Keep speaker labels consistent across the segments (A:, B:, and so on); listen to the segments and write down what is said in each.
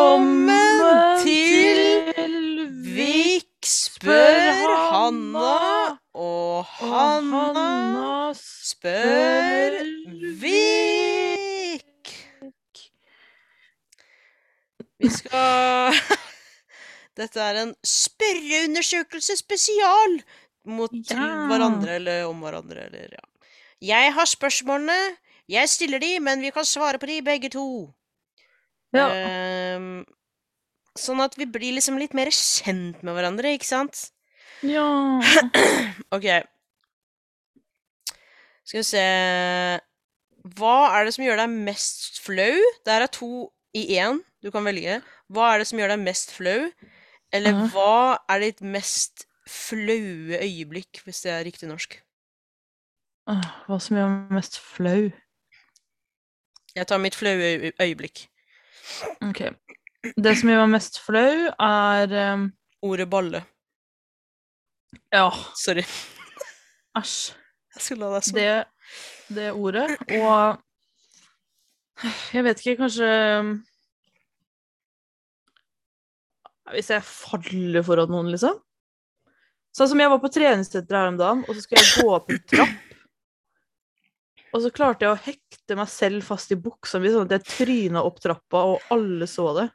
A: Velkommen til Vik spør Hanna, og Hanna spør Vik. Vi skal Dette er en spørreundersøkelse spesial mot til
B: Ja.
A: hverandre eller om hverandre eller ja. Jeg har spørsmålene. Jeg stiller de, men vi kan svare på de begge to.
B: Ja.
A: Ehm, sånn at vi blir liksom litt mer kjent med hverandre, ikke sant?
B: ja.
A: Ok. Skal vi se Hva er det som gjør deg mest flau? Det her er to i én. Du kan velge. Hva er det som gjør deg mest flau? Eller
B: Ja.
A: hva er ditt mest flaue øyeblikk, hvis det er riktig norsk?
B: Åh, Ah, Hva som gjør meg mest flau?
A: Jeg tar mitt flaue øy- øyeblikk.
B: Ok. Det som gjør meg mest flau, er um,
A: Ordet balle.
B: Ja,
A: Sorry.
B: æsj.
A: Jeg skulle la deg sånn. svare.
B: Det, det ordet. Og jeg vet ikke, kanskje um, Hvis jeg faller foran noen, liksom? Sånn som jeg var på treningssenteret her om dagen, og så skulle jeg gå opp en trapp. Og så klarte jeg å hekte meg selv fast i buksa mi, sånn at jeg tryna opp trappa, og alle så det.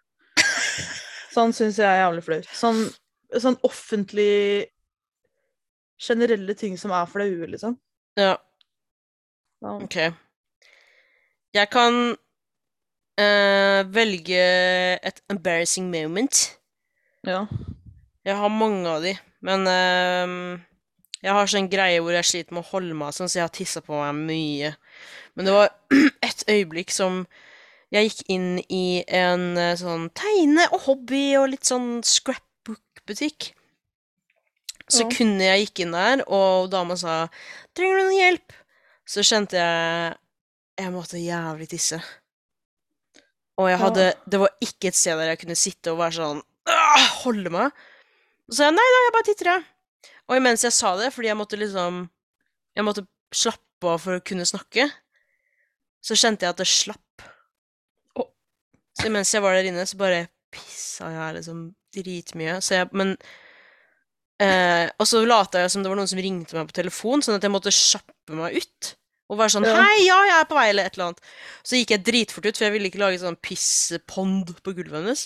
B: Sånn syns jeg er jævlig flaut. Sånn, sånn offentlig Generelle ting som er flaue, liksom.
A: Ja.
B: Ja.
A: Ok. Jeg kan eh, velge et embarrassing moment.
B: Ja.
A: Jeg har mange av de, men eh, jeg har sånn greie hvor jeg sliter med å holde meg sånn, så jeg har tissa på meg mye. Men det var et øyeblikk som jeg gikk inn i en eh, sånn tegne- og hobby- og litt sånn scrapbook-butikk. Så
B: Ja.
A: kunne jeg gikk inn der, og dama sa 'Trenger du noe hjelp?' Så kjente jeg Jeg måtte jævlig tisse. Og jeg
B: Ja.
A: hadde Det var ikke et sted der jeg kunne sitte og være sånn «Åh, Holde meg. Så sa jeg nei da, jeg bare titter, jeg. Og imens jeg sa det, fordi jeg måtte liksom Jeg måtte slappe av for å kunne snakke, så kjente jeg at det slapp.
B: Å.
A: Så imens jeg var der inne, så bare pissa jeg liksom dritmye. Så jeg Men eh, Og så lata jeg som det var noen som ringte meg på telefon, sånn at jeg måtte kjappe meg ut. Og være sånn
B: Ja.
A: 'Hei, ja, jeg er på vei', eller et eller annet. Så gikk jeg dritfort ut, for jeg ville ikke lage sånn pisspond på gulvet hennes.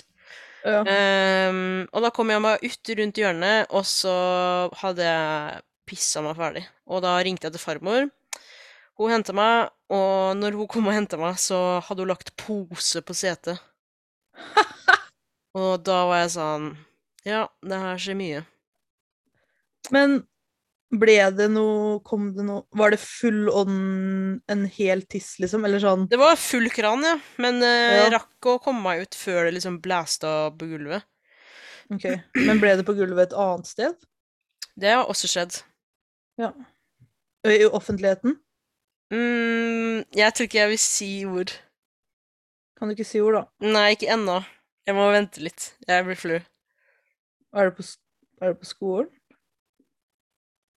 B: Ja.
A: Ehm, og da kom jeg meg ut rundt hjørnet, og så hadde jeg pissa meg ferdig. Og da ringte jeg til farmor. Hun henta meg, og når hun kom og henta meg, så hadde hun lagt pose på setet. og da var jeg sånn Ja, det her skjer mye.
B: Men ble det noe Kom det noe Var det full ånd en hel tiss, liksom? Eller sånn
A: Det var full kran, ja, men eh, jeg
B: Ja.
A: rakk å komme meg ut før det liksom blæsta på gulvet.
B: OK. Men ble det på gulvet et annet sted?
A: Det har også skjedd.
B: Ø, I offentligheten?
A: Mm, jeg tror ikke jeg vil si ord.
B: Kan du ikke si ord, da?
A: Nei, ikke ennå. Jeg må vente litt. Jeg blir flau.
B: Er det på, s- er det på skolen?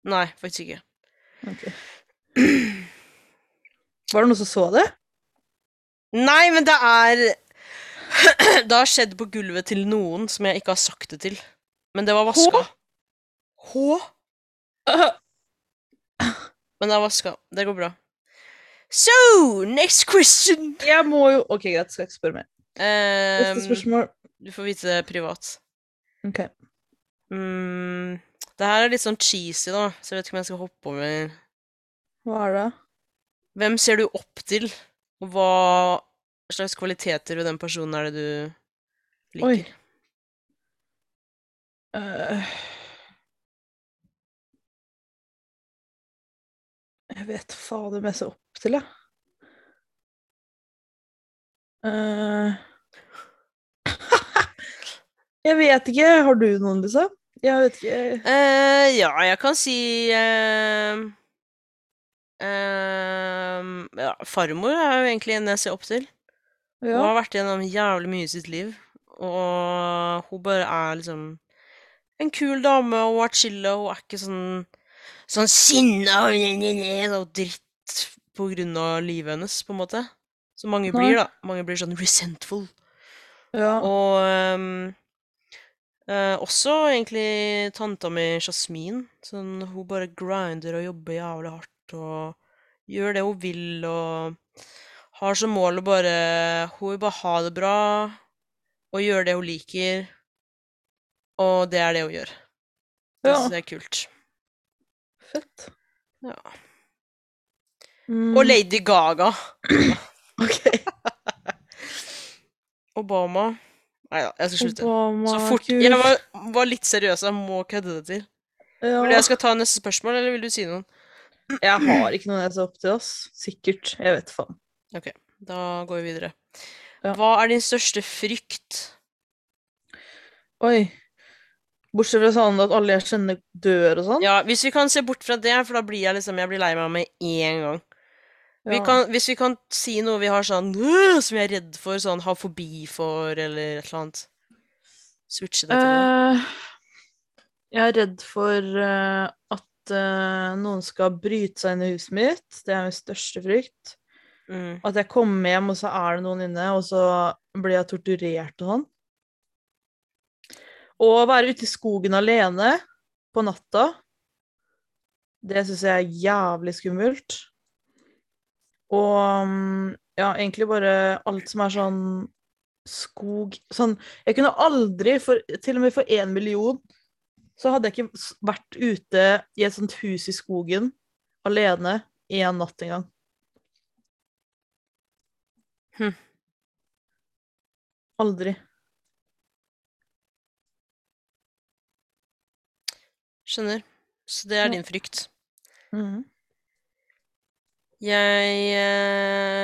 A: Nei, faktisk ikke.
B: Ok. Var det noen som så det?
A: Nei, men det er Det har skjedd på gulvet til noen som jeg ikke har sagt det til. Men det var vaska. Hå? Men det er vaska. Det går bra. So, next question.
B: Jeg må jo OK, greit, skal ikke spørre mer. Um, Neste
A: Ehm,
B: spørsmål.
A: du får vite det privat.
B: OK.
A: Mm, det her er litt sånn cheesy, da, så jeg vet ikke om jeg skal hoppe over.
B: Hva er det?
A: Hvem ser du opp til, og hva slags kvaliteter ved den personen er det du
B: Oi.
A: liker?
B: Eh, Jeg vet fader hvem jeg ser opp til, jeg. Eh, jeg vet ikke. Har du noen, Lisa? Jeg vet ikke.
A: Eh, ja, jeg kan si eh, ehm, ja, Farmor er jo egentlig en jeg ser opp til. Hun
B: Ja.
A: har vært gjennom jævlig mye i sitt liv. Og hun bare er liksom en kul dame, og hun er chill, og hun er ikke sånn Sånn sinna og dritt på grunn av livet hennes, på en måte. Så mange
B: Nei.
A: blir da. Mange blir sånn resentful.
B: Ja.
A: Og ehm, eh, også egentlig tanta mi Jasmin. Sånn, hun bare grinder og jobber jævlig hardt og gjør det hun vil og har som mål å bare Hun vil bare ha det bra og gjøre det hun liker. Og det er det hun gjør. Det
B: ja.
A: synes jeg er kult.
B: Fett.
A: Ja.
B: Mm.
A: Og Lady Gaga.
B: Ok.
A: Obama. Nei da, jeg skal slutte.
B: Obama,
A: Så fort
B: kult.
A: Jeg var, var litt seriøs, jeg må kødde det til.
B: Ja.
A: Vil du jeg skal ta neste spørsmål, eller vil du si noen?
B: Jeg har ikke noen jeg ser opp til, ass. Sikkert. Jeg vet faen.
A: Da går vi videre.
B: Ja.
A: Hva er din største frykt?
B: Oi. Bortsett fra sånn at alle jeg kjenner dør og sånn.
A: Ja, hvis vi kan se bort fra det, for da blir jeg liksom Jeg blir lei meg med en gang. Vi
B: Ja.
A: kan, hvis vi kan si noe vi har sånn «Åh», som vi er redd for, sånn har fobi for, eller et eller annet. Switche det til noe.
B: Eh, jeg er redd for eh, at eh, noen skal bryte seg inn i huset mitt. Det er min største frykt.
A: Mm.
B: At jeg kommer hjem, og så er det noen inne, og så blir jeg torturert og sånn. Og å være ute i skogen alene på natta, det syns jeg er jævlig skummelt. Og mm, ja, egentlig bare alt som er sånn skog Sånn Jeg kunne aldri, for, til og med for én million, så hadde jeg ikke s- vært ute i et sånt hus i skogen alene én natt engang.
A: Hm.
B: Aldri.
A: Skjønner. Så det er
B: Ja.
A: din frykt. Jeg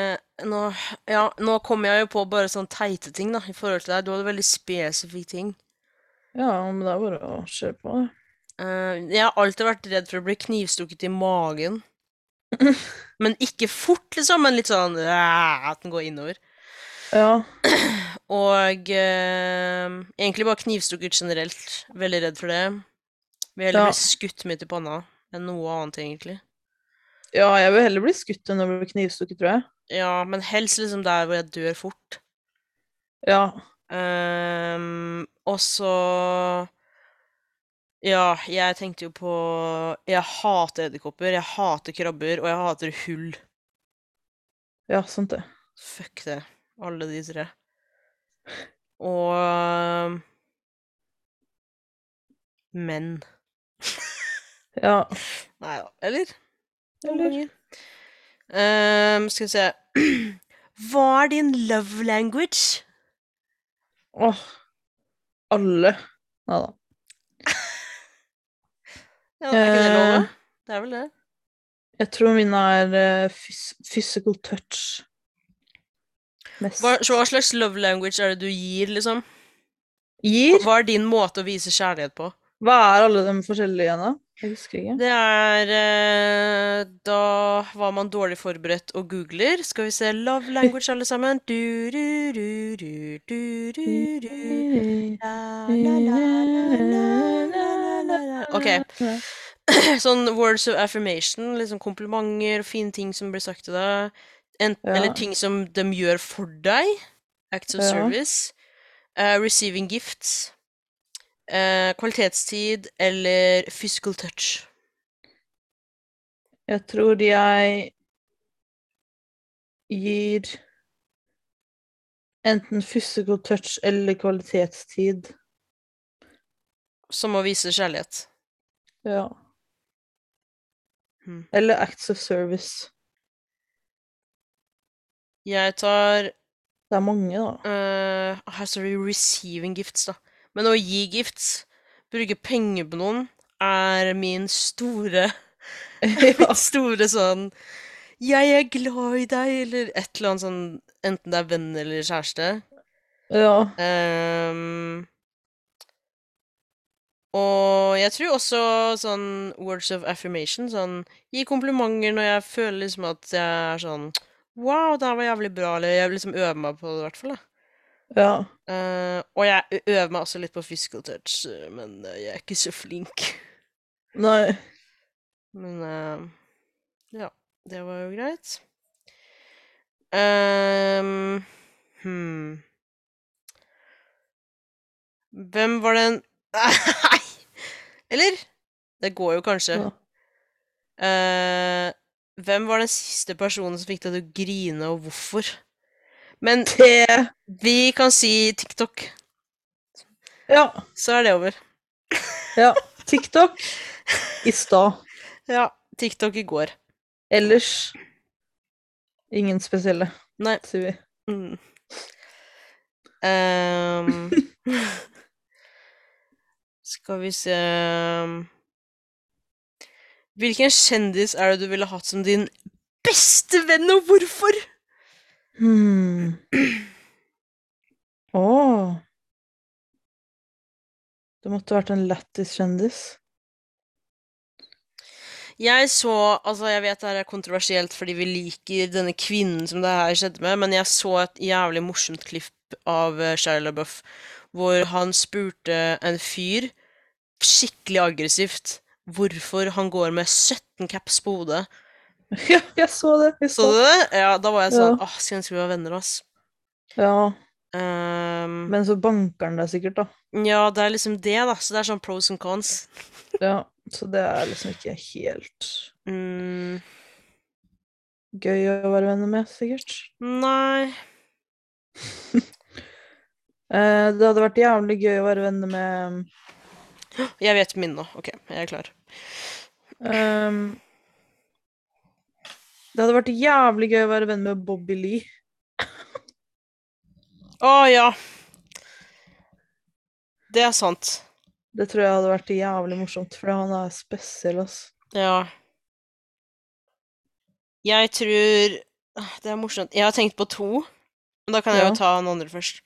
A: eh, nå, ja, nå kommer jeg jo på bare sånn teite ting, da, i forhold til deg. Du hadde veldig spesifikke ting.
B: Ja, men det er bare å kjøre på. det.
A: Eh, jeg har alltid vært redd for å bli knivstukket i magen. Men ikke fort, liksom, men litt sånn «Æ», at den går innover.
B: Ja.
A: Og eh, egentlig bare knivstukket generelt. Veldig redd for det. Vil heller
B: Ja.
A: bli skutt midt i panna enn noe annet, egentlig.
B: ja, jeg vil heller bli skutt enn å bli knivstukket, tror jeg.
A: Ja, men helst liksom der hvor jeg dør fort.
B: Ja.
A: Ehm, og så Ja, jeg tenkte jo på Jeg hater edderkopper, jeg hater krabber, og jeg hater hull.
B: Ja, sant det.
A: Fuck det. Alle de tre. Og ehm, Menn.
B: Ja.
A: Nei da. Eller?
B: Eller
A: Ehm, skal vi se Hva er din love language?
B: Åh. Alle. Nei da.
A: Ja, er ikke det lov,
B: Eh.
A: da? Det er vel det.
B: Jeg tror min er eh, phys physical touch. Mest.
A: Hva, så hva slags love language er det du gir, liksom?
B: Gir?
A: Hva er din måte å vise kjærlighet på?
B: Hva er alle de forskjellige igjen, da? Jeg husker ikke.
A: Det er eh, Da var man dårlig forberedt og googler. Skal vi se Love language, alle sammen. Du, du, du, du, du, du, du. La, la, la, la, la, la, la, la. OK. Sånn words of affirmation, liksom komplimenter og fine ting som blir sagt til deg. Ent,
B: Ja.
A: Eller ting som de gjør for deg. Acts of
B: Ja.
A: service. eh, receiving gifts. eh, kvalitetstid eller physical touch.
B: Jeg tror jeg gir enten physical touch eller kvalitetstid.
A: Som å vise kjærlighet.
B: Ja.
A: Hmm.
B: Eller acts of service.
A: Jeg tar
B: Det er mange, da.
A: eh, Her står det receiving gifts, da. Men å gi gifts, bruke penger på noen, er min store
B: ja.
A: Mitt store sånn 'Jeg er glad i deg', eller et eller annet sånn Enten det er venn eller kjæreste.
B: ja.
A: Ehm, og jeg tror også sånn words of affirmation, sånn gi komplimenter når jeg føler liksom at jeg er sånn Wow, det her var jævlig bra, eller jeg liksom øver meg på det, i hvert fall. da.
B: Ja.
A: Eh, og jeg ø- øver meg også litt på physical touch, eh, men eh, jeg er ikke så flink.
B: Nei.
A: Men eh, ja, det var jo greit. Eh, Ehm, hmm. Hvem var den Nei! Eller? Det går jo kanskje.
B: Ja.
A: Eh, hvem var den siste personen som fikk deg til å grine, og hvorfor? Men
B: Det
A: vi kan si TikTok,
B: Ja.
A: så er det over.
B: ja. TikTok i stad.
A: Ja. TikTok i går.
B: Ellers ingen spesielle,
A: Nei.
B: sier vi.
A: Mm. Ehm, skal vi se ehm. Hvilken kjendis er det du ville hatt som din beste venn, og hvorfor?
B: Hmm. Åh. Det måtte vært en lættis-kjendis.
A: Jeg så Altså, jeg vet det her er kontroversielt fordi vi liker denne kvinnen som det her skjedde med, men jeg så et jævlig morsomt klipp av eh, Shia LaBeouf hvor han spurte en fyr skikkelig aggressivt hvorfor han går med 17 caps på hodet.
B: Ja, jeg så det. Jeg
A: Så du det? Ja, da var jeg sånn
B: Ja.
A: Åh, skulle ønske vi var venner, ass.
B: Ja,
A: Ehm,
B: men så banker han deg sikkert, da.
A: ja, det er liksom det, da. Så det er sånn pros and cons.
B: Ja, så det er liksom ikke helt
A: Mm,
B: gøy å være venner med, sikkert.
A: nei
B: Eh, det hadde vært jævlig gøy å være venner med
A: Jeg vet min nå. OK, jeg er klar.
B: ehm, Det hadde vært jævlig gøy å være venn med Bobby Lee.
A: Å ja. Det er sant.
B: Det tror jeg hadde vært jævlig morsomt, for han er spesiell, ass.
A: Ja. Jeg tror Ah, Det er morsomt. Jeg har tenkt på to, men da kan jeg
B: Ja.
A: jo ta han andre først.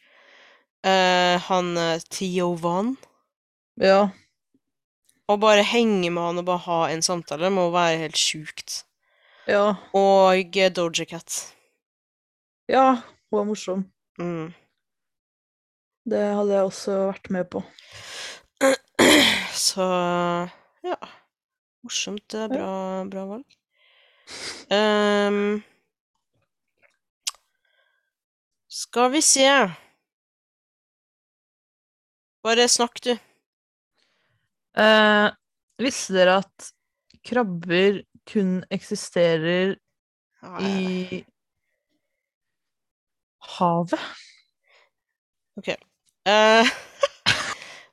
A: Eh, han eh, Theo Van.
B: Ja.
A: Å bare henge med han og bare ha en samtale må være helt sjukt.
B: Ja.
A: Og eh, Doja Cat.
B: Ja, hun er morsom.
A: Mm.
B: Det hadde jeg også vært med på.
A: Så ja. Morsomt. Det er bra, bra valg. Ehm, skal vi se Bare snakk, du.
B: Eh, visste dere at krabber kun eksisterer i havet?
A: Eh,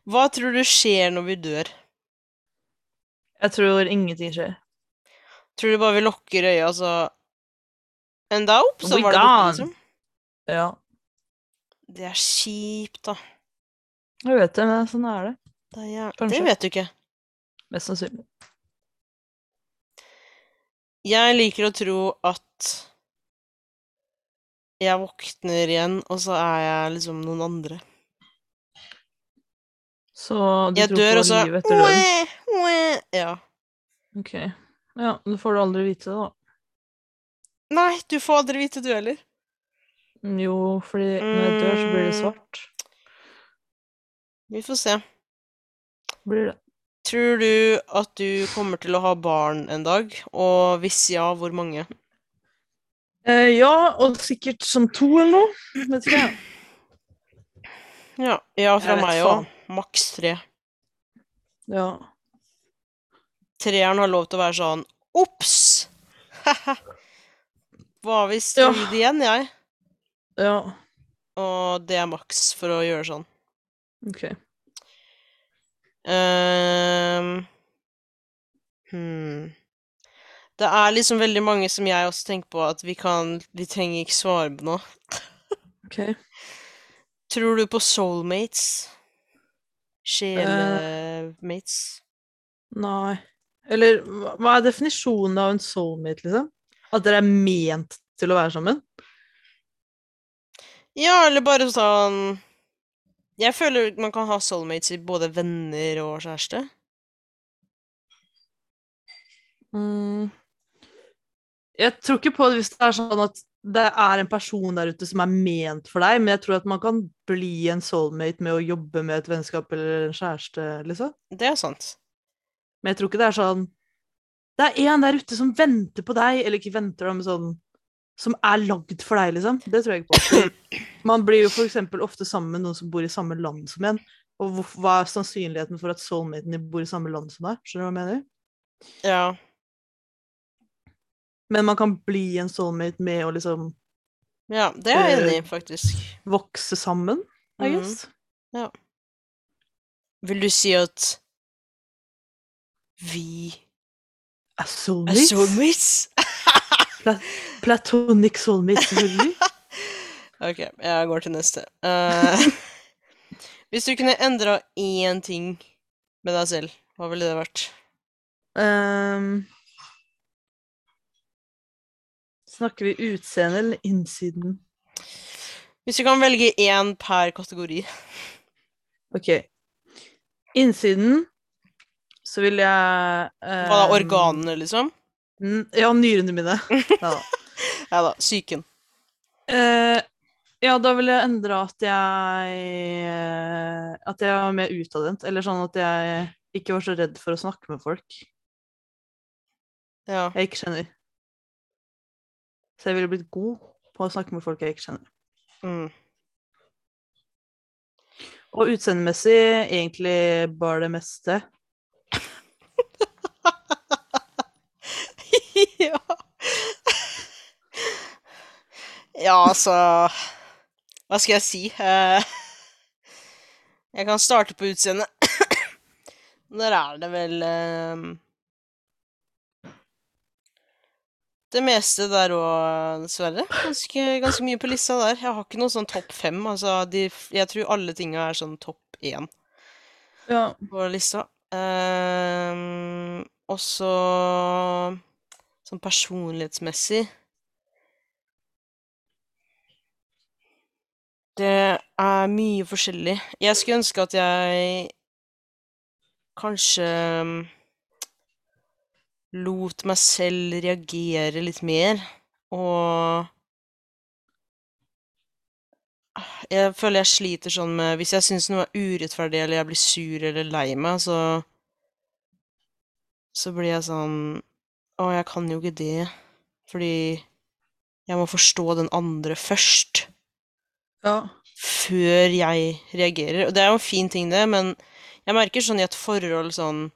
A: Hva tror du skjer når vi dør?
B: Jeg tror ingenting skjer.
A: Tror du bare vi lukker øya, så And da opp, så
B: We
A: var det borte,
B: gone.
A: liksom?
B: Ja,
A: Det er kjipt, da.
B: jeg vet det, men sånn er det.
A: Det, er jæv- det
B: Kanskje.
A: vet du ikke.
B: Mest sannsynlig.
A: Jeg liker å tro at jeg våkner igjen, og så er jeg liksom noen andre.
B: Så du
A: Jeg
B: tror
A: dør,
B: på
A: og så
B: liv etter døden?
A: Oe, oe. Ja. Mm.
B: Ok. Ja, det får du aldri vite, da.
A: Nei, du får aldri vite du heller.
B: Jo, fordi når jeg dør, så blir det
A: Mm.
B: svart.
A: Vi får se.
B: Blir det.
A: Tror du at du kommer til å ha barn en dag? Og hvis ja, hvor mange?
B: Eh, ja, og sikkert som to eller noe. Vet ikke jeg.
A: Ja, ja fra
B: Jeg vet
A: meg
B: faen.
A: òg. Maks tre.
B: Ja.
A: Treeren har lov til å være sånn Ops! Hva hvis du
B: Ja.
A: gjør det igjen, jeg?
B: ja.
A: Og det er maks for å gjøre sånn.
B: Ok.
A: Ehm, hmm. Det er liksom veldig mange som jeg også tenker på at vi kan Vi trenger ikke svare på nå.
B: ok.
A: Tror du på soulmates?
B: Eh.
A: Sjelemates?
B: Nei. Eller hva hva er definisjonen av en soulmate, liksom? At dere er ment til å være sammen?
A: Ja, eller bare sånn Jeg føler man kan ha soulmates i både venner og kjæreste.
B: Mm. Jeg tror ikke på det hvis det er sånn at det er en person der ute som er ment for deg, men jeg tror at man kan bli en soulmate med å jobbe med et vennskap eller en kjæreste, liksom.
A: Det er sant.
B: Men jeg tror ikke det er sånn Det er en der ute som venter på deg, eller ikke venter, da, men sånn som er lagd for deg, liksom. Det tror jeg ikke på. Man blir jo f.eks. ofte sammen med noen som bor i samme land som en. Og hvor, hva er sannsynligheten for at soulmaten din bor i samme land som deg? Skjønner du hva jeg mener?
A: Ja.
B: Men man kan bli en soulmate med å liksom
A: ja, det er jeg
B: Eh,
A: enig i, faktisk.
B: vokse sammen, I
A: Mhm.
B: guess.
A: Vil du si at vi
B: Er
A: er
B: soulmates?
A: soulmates?
B: Platonic soulmates, selvfølgelig.
A: Ok, jeg går til neste. Eh, hvis du kunne endra én ting med deg selv, hva ville det vært?
B: Ehm, snakker vi utseende eller innsiden?
A: Hvis du kan velge én per kategori.
B: Ok. Innsiden, så vil jeg
A: Hva da,
B: ehm,
A: organene, liksom?
B: n- Ja, nyrene mine. Ja.
A: Ja da, psyken.
B: Eh, ja, da vil jeg endre at jeg At jeg var mer utadvendt. Eller sånn at jeg ikke var så redd for å snakke med folk
A: Ja.
B: jeg ikke kjenner. Så jeg ville blitt god på å snakke med folk jeg ikke kjenner.
A: Mm.
B: Og utseendemessig egentlig bare det meste.
A: ja. ja, altså Hva skal jeg si? Eh, Jeg kan starte på utseendet. Der er det vel eh, Det meste der òg, dessverre. Ganske, ganske mye på lista der. Jeg har ikke noe sånn topp fem. Altså, de, jeg tror alle tinga er sånn topp én
B: Ja.
A: på lista. Ehm, og så sånn personlighetsmessig Det er mye forskjellig. Jeg skulle ønske at jeg kanskje mm, lot meg selv reagere litt mer, og jeg føler jeg sliter sånn med Hvis jeg syns noe er urettferdig, eller jeg blir sur eller lei meg, så Så blir jeg sånn Å, jeg kan jo ikke det, fordi jeg må forstå den andre først,
B: Ja.
A: før jeg reagerer. Og det er jo en fin ting, det, men jeg merker sånn i et forhold sånn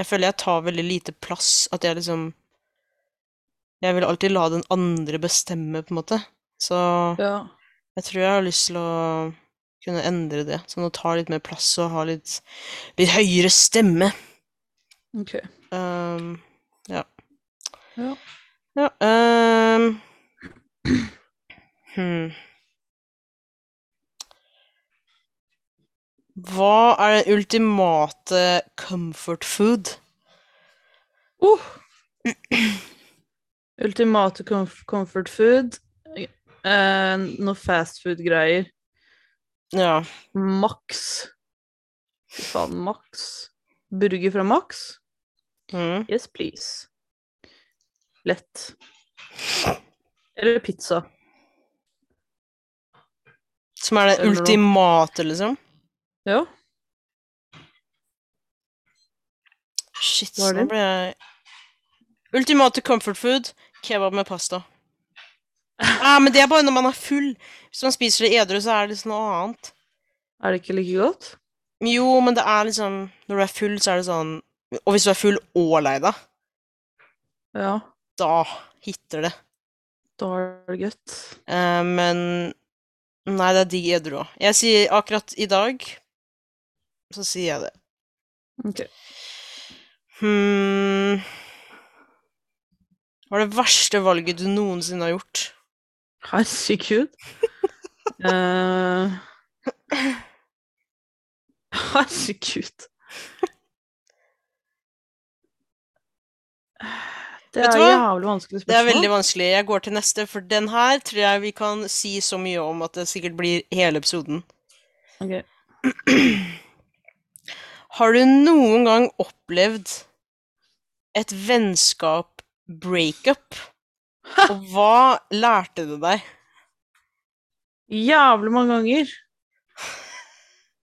A: Jeg føler jeg tar veldig lite plass, at jeg liksom Jeg vil alltid la den andre bestemme, på en måte. Så
B: ja.
A: jeg tror jeg har lyst til å kunne endre det. Sånn å ta litt mer plass og ha litt, litt høyere stemme.
B: Ok.
A: Ehm, ja.
B: Ja.
A: Ja, ehm. hmm. Hva er den ultimate comfort food?
B: Uh. Ultimate comf comfort food. Eh, noe fast food-greier.
A: Ja.
B: Max. Fy faen, Max. Burger fra Max?
A: Mm.
B: Yes, please. Lett. Eller pizza.
A: Som er den
B: Eller noe.
A: ultimate, liksom?
B: Ja.
A: Shit,
B: Hva er
A: nå
B: det?
A: ble jeg Ultimate comfort food kebab med pasta. Ja, men det er bare når man er full. Hvis man spiser det edru, så er det liksom noe annet.
B: Er det ikke like godt?
A: Men Jo, men det er liksom Når du er full, så er det sånn Og hvis du er full og lei deg,
B: Ja.
A: da hitter det.
B: Da er det godt.
A: Eh, men Nei, det er digg edru òg. Jeg sier akkurat i dag Så sier jeg det.
B: Ok.
A: Hm Hva er det verste valget du noensinne har gjort?
B: Herregud. Eh, Herregud. Det
A: Vet
B: er
A: du hva?
B: jævlig vanskelig
A: Det
B: spørsmål.
A: er veldig vanskelig. Jeg går til neste, for den her tror jeg vi kan si så mye om at det sikkert blir hele episoden.
B: Ok.
A: Har du noen gang opplevd et vennskap breakup? Og hva lærte det deg?
B: Jævlig mange ganger. Jævlig mange ganger.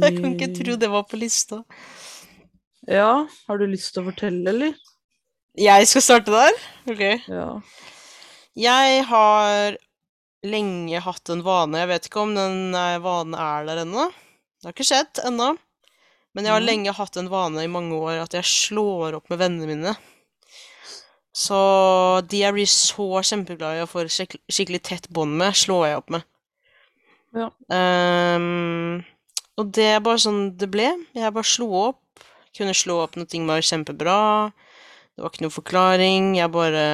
A: Jeg kan ikke tro det var på lista.
B: Ja, har du lyst til å fortelle, eller?
A: Jeg skal starte der? Ok.
B: Ja.
A: Jeg har lenge hatt en vane. Jeg vet ikke om den eh, vanen er der ennå. Det har ikke skjedd ennå. Men jeg har
B: Mhm.
A: lenge hatt en vane i mange år at jeg slår opp med vennene mine. Så de jeg blir så kjempeglad i og får skikk- skikkelig tett bånd med, slår jeg opp med.
B: Ja.
A: Ehm, og det er bare sånn det ble. Jeg bare slo opp. Kunne slå opp når ting var kjempebra. Det var ikke noe forklaring. Jeg bare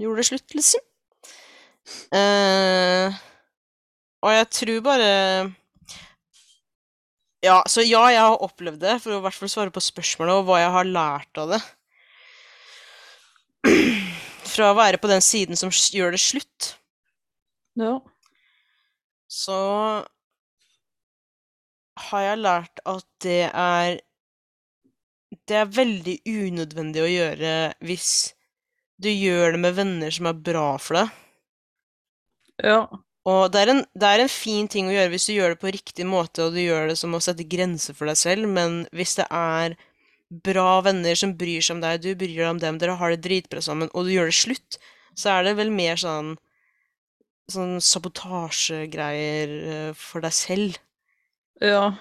A: gjorde det slutt, liksom. Eh, og jeg tror bare Ja, så ja, jeg har opplevd det, for å i hvert fall svare på spørsmålet og hva jeg har lært av det. Fra å være på den siden som s- gjør det slutt,
B: ja.
A: så har jeg lært at det er Det er veldig unødvendig å gjøre hvis du gjør det med venner som er bra for deg.
B: ja.
A: Og det er, en, det er en fin ting å gjøre hvis du gjør det på riktig måte, og du gjør det som å sette grenser for deg selv, men hvis det er bra venner som bryr seg om deg, du bryr deg om dem, dere har det dritbra sammen, og du gjør det slutt, så er det vel mer sånn Sånn sabotasjegreier eh, for deg selv.
B: ja.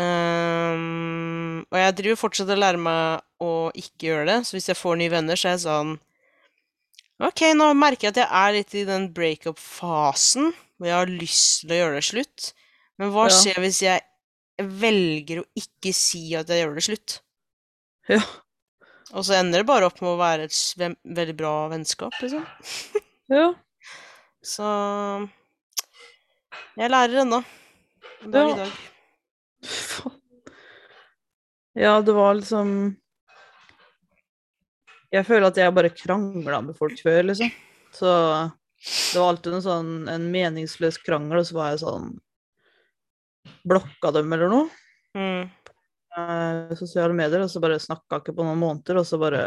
A: Ehm, og jeg driver fortsatt og lærer meg å ikke gjøre det, så hvis jeg får nye venner, så er jeg sånn Ok, nå merker jeg at jeg er litt i den breakup-fasen, hvor jeg har lyst til å gjøre det slutt. Men hva
B: Ja.
A: skjer hvis jeg velger å ikke si at jeg gjør det slutt?
B: Ja.
A: Og så ender det bare opp med å være et s- vem- veldig bra vennskap, liksom.
B: ja.
A: Så Jeg lærer ennå. En dag
B: Ja.
A: i dag.
B: Faen. Ja, det var liksom Jeg føler at jeg bare krangla med folk før, liksom. Så det var alltid en sånn en meningsløs krangel, og så var jeg sånn Blokka dem eller noe.
A: Mm.
B: Eh, sosiale medier, og så bare snakka ikke på noen måneder, og så bare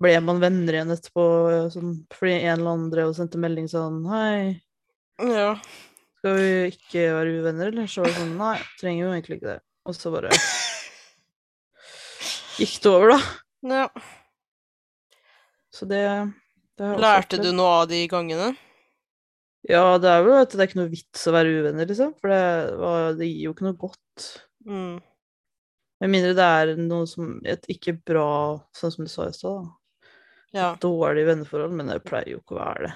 B: ble man venner igjen etterpå. eh, Sånn, fordi en eller annen drev og sendte melding sånn Hei,
A: Ja.
B: skal vi ikke være uvenner, eller? Så var det sånn, nei, trenger jo egentlig ikke det. Og så bare gikk det over, da.
A: ja.
B: Så det, det har jeg også
A: Lærte du
B: opplevd.
A: noe av de gangene?
B: Ja, det er jo at det er ikke noe vits å være uvenner, liksom. For det, var, det gir jo ikke noe godt.
A: Mm.
B: Med mindre det er noe som et ikke bra, sånn som du sa i stad, da.
A: Ja.
B: Dårlig venneforhold, men det pleier jo ikke å være det.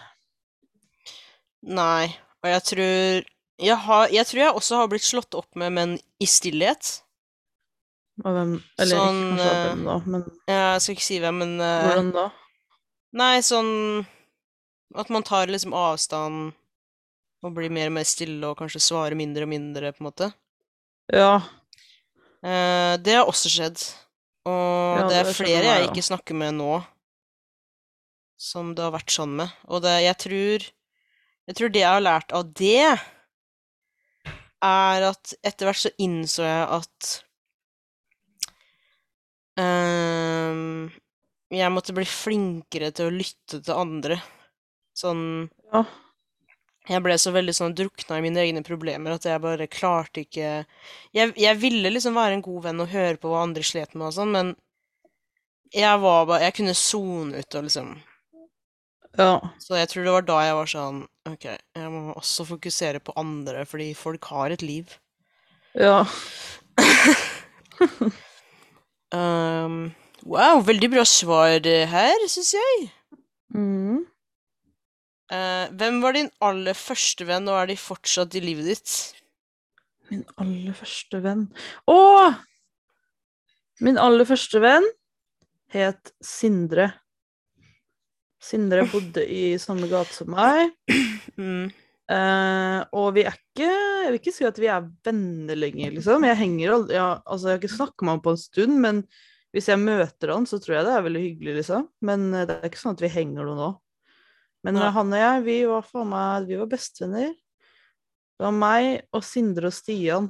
A: Nei. Og jeg tror jeg, har, jeg tror jeg også har blitt slått opp med menn i stillhet.
B: Og hvem, eller
A: Sånn,
B: ikke kanskje av hvem da, men
A: Jeg skal ikke si hvem, men eh,
B: hvordan da?
A: Nei, sånn At man tar liksom avstand og blir mer og mer stille og kanskje svarer mindre og mindre, på en måte.
B: Ja,
A: Eh, det har også skjedd. Og
B: Ja,
A: det er
B: det skjønner
A: flere
B: jeg
A: jeg
B: jo.
A: ikke snakker med nå, som det har vært sånn med. Og det, jeg tror Jeg tror det jeg har lært av det, er at etter hvert så innså jeg at ehm, Jeg måtte bli flinkere til å lytte til andre. Sånn
B: ja,
A: jeg ble så veldig sånn drukna i mine egne problemer at jeg bare klarte ikke Jeg, jeg ville liksom være en god venn og høre på hva andre slet med og sånn, men jeg var bare Jeg kunne sone ut og liksom
B: ja,
A: Så jeg tror det var da jeg var sånn OK, jeg må også fokusere på andre, fordi folk har et liv.
B: ja.
A: Ehm, wow, veldig bra svar eh, her, syns jeg.
B: Mm.
A: Eh, hvem var din aller første venn, og er de fortsatt i livet ditt?
B: Min aller første venn Å! Min aller første venn het Sindre. Sindre bodde i samme gate som meg.
A: Mm.
B: Eh, og vi er ikke Jeg vil ikke si at vi er venner lenger, liksom. Jeg henger aldri jeg, Altså, jeg har ikke snakka med han på en stund, men hvis jeg møter han, så tror jeg det er veldig hyggelig, liksom. Men eh, det er ikke sånn at vi henger noe nå. Men
A: Nei.
B: eh, han og jeg, vi var faen meg Vi var bestevenner. Det var meg og Sindre og Stian.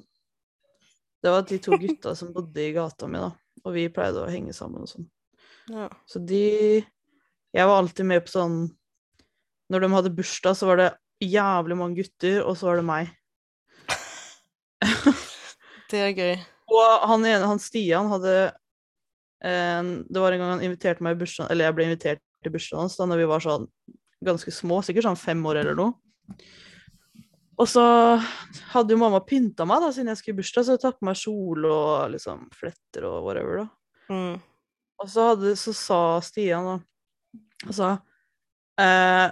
B: Det var de to gutta som bodde i gata mi, da. Og vi pleide å henge sammen og sånn.
A: Ja.
B: Så de Jeg var alltid med på sånn Når de hadde bursdag, så var det jævlig mange gutter, og så var det meg.
A: Det er gøy.
B: Og han ene, han Stian, hadde Eh, Det var en gang han inviterte meg i bursdagen, eller jeg ble invitert til bursdagen hans da når vi var sånn ganske små, sikkert sånn fem år eller noe. Og så hadde jo mamma pynta meg da, siden jeg skulle i bursdag, så hun tatt på meg kjole og liksom fletter og whatever, da.
A: Mm.
B: Og så, hadde, så sa Stian da Han sa eh,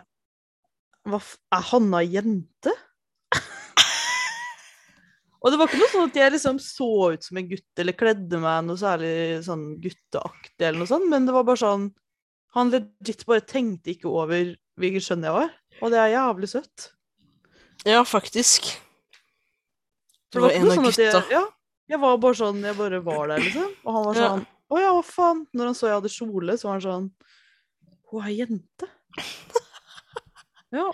B: hva, f- Er Hanna jente? og det var ikke noe sånn at jeg liksom så ut som en gutt, eller kledde meg noe særlig sånn gutteaktig, eller noe sånt, men det var bare sånn Han legit bare tenkte ikke over hvilket skjønn jeg var, og det er jævlig søtt.
A: Ja, faktisk. Du
B: For
A: var
B: det
A: en
B: var ikke
A: av
B: noe sånn at
A: gutta.
B: jeg, ja, jeg var bare sånn, jeg bare var der, liksom. Og han var
A: Ja.
B: sånn Å ja, hva faen? Når han så jeg hadde kjole, så var han sånn Hun er jente. ja. Ja,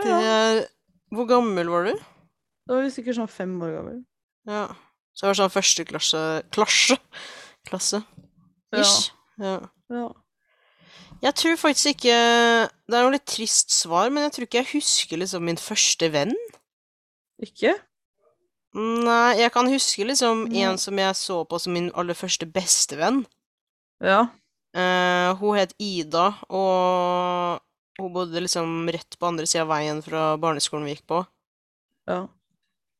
A: Det
B: ja.
A: er Hvor gammel var du?
B: Da var vi sikkert sånn fem år gammel.
A: Ja. Så jeg var sånn første klasse Klasje? Klasse?
B: Ja.
A: Ish. Ja.
B: ja.
A: Jeg tror faktisk ikke Det er jo litt trist svar, men jeg tror ikke jeg husker liksom min første venn.
B: Ikke?
A: Nei, jeg kan huske liksom
B: Nei.
A: en som jeg så på som min aller første bestevenn.
B: Ja.
A: Eh, hun het Ida, og hun bodde liksom rett på andre sida av veien fra barneskolen vi gikk på.
B: Ja.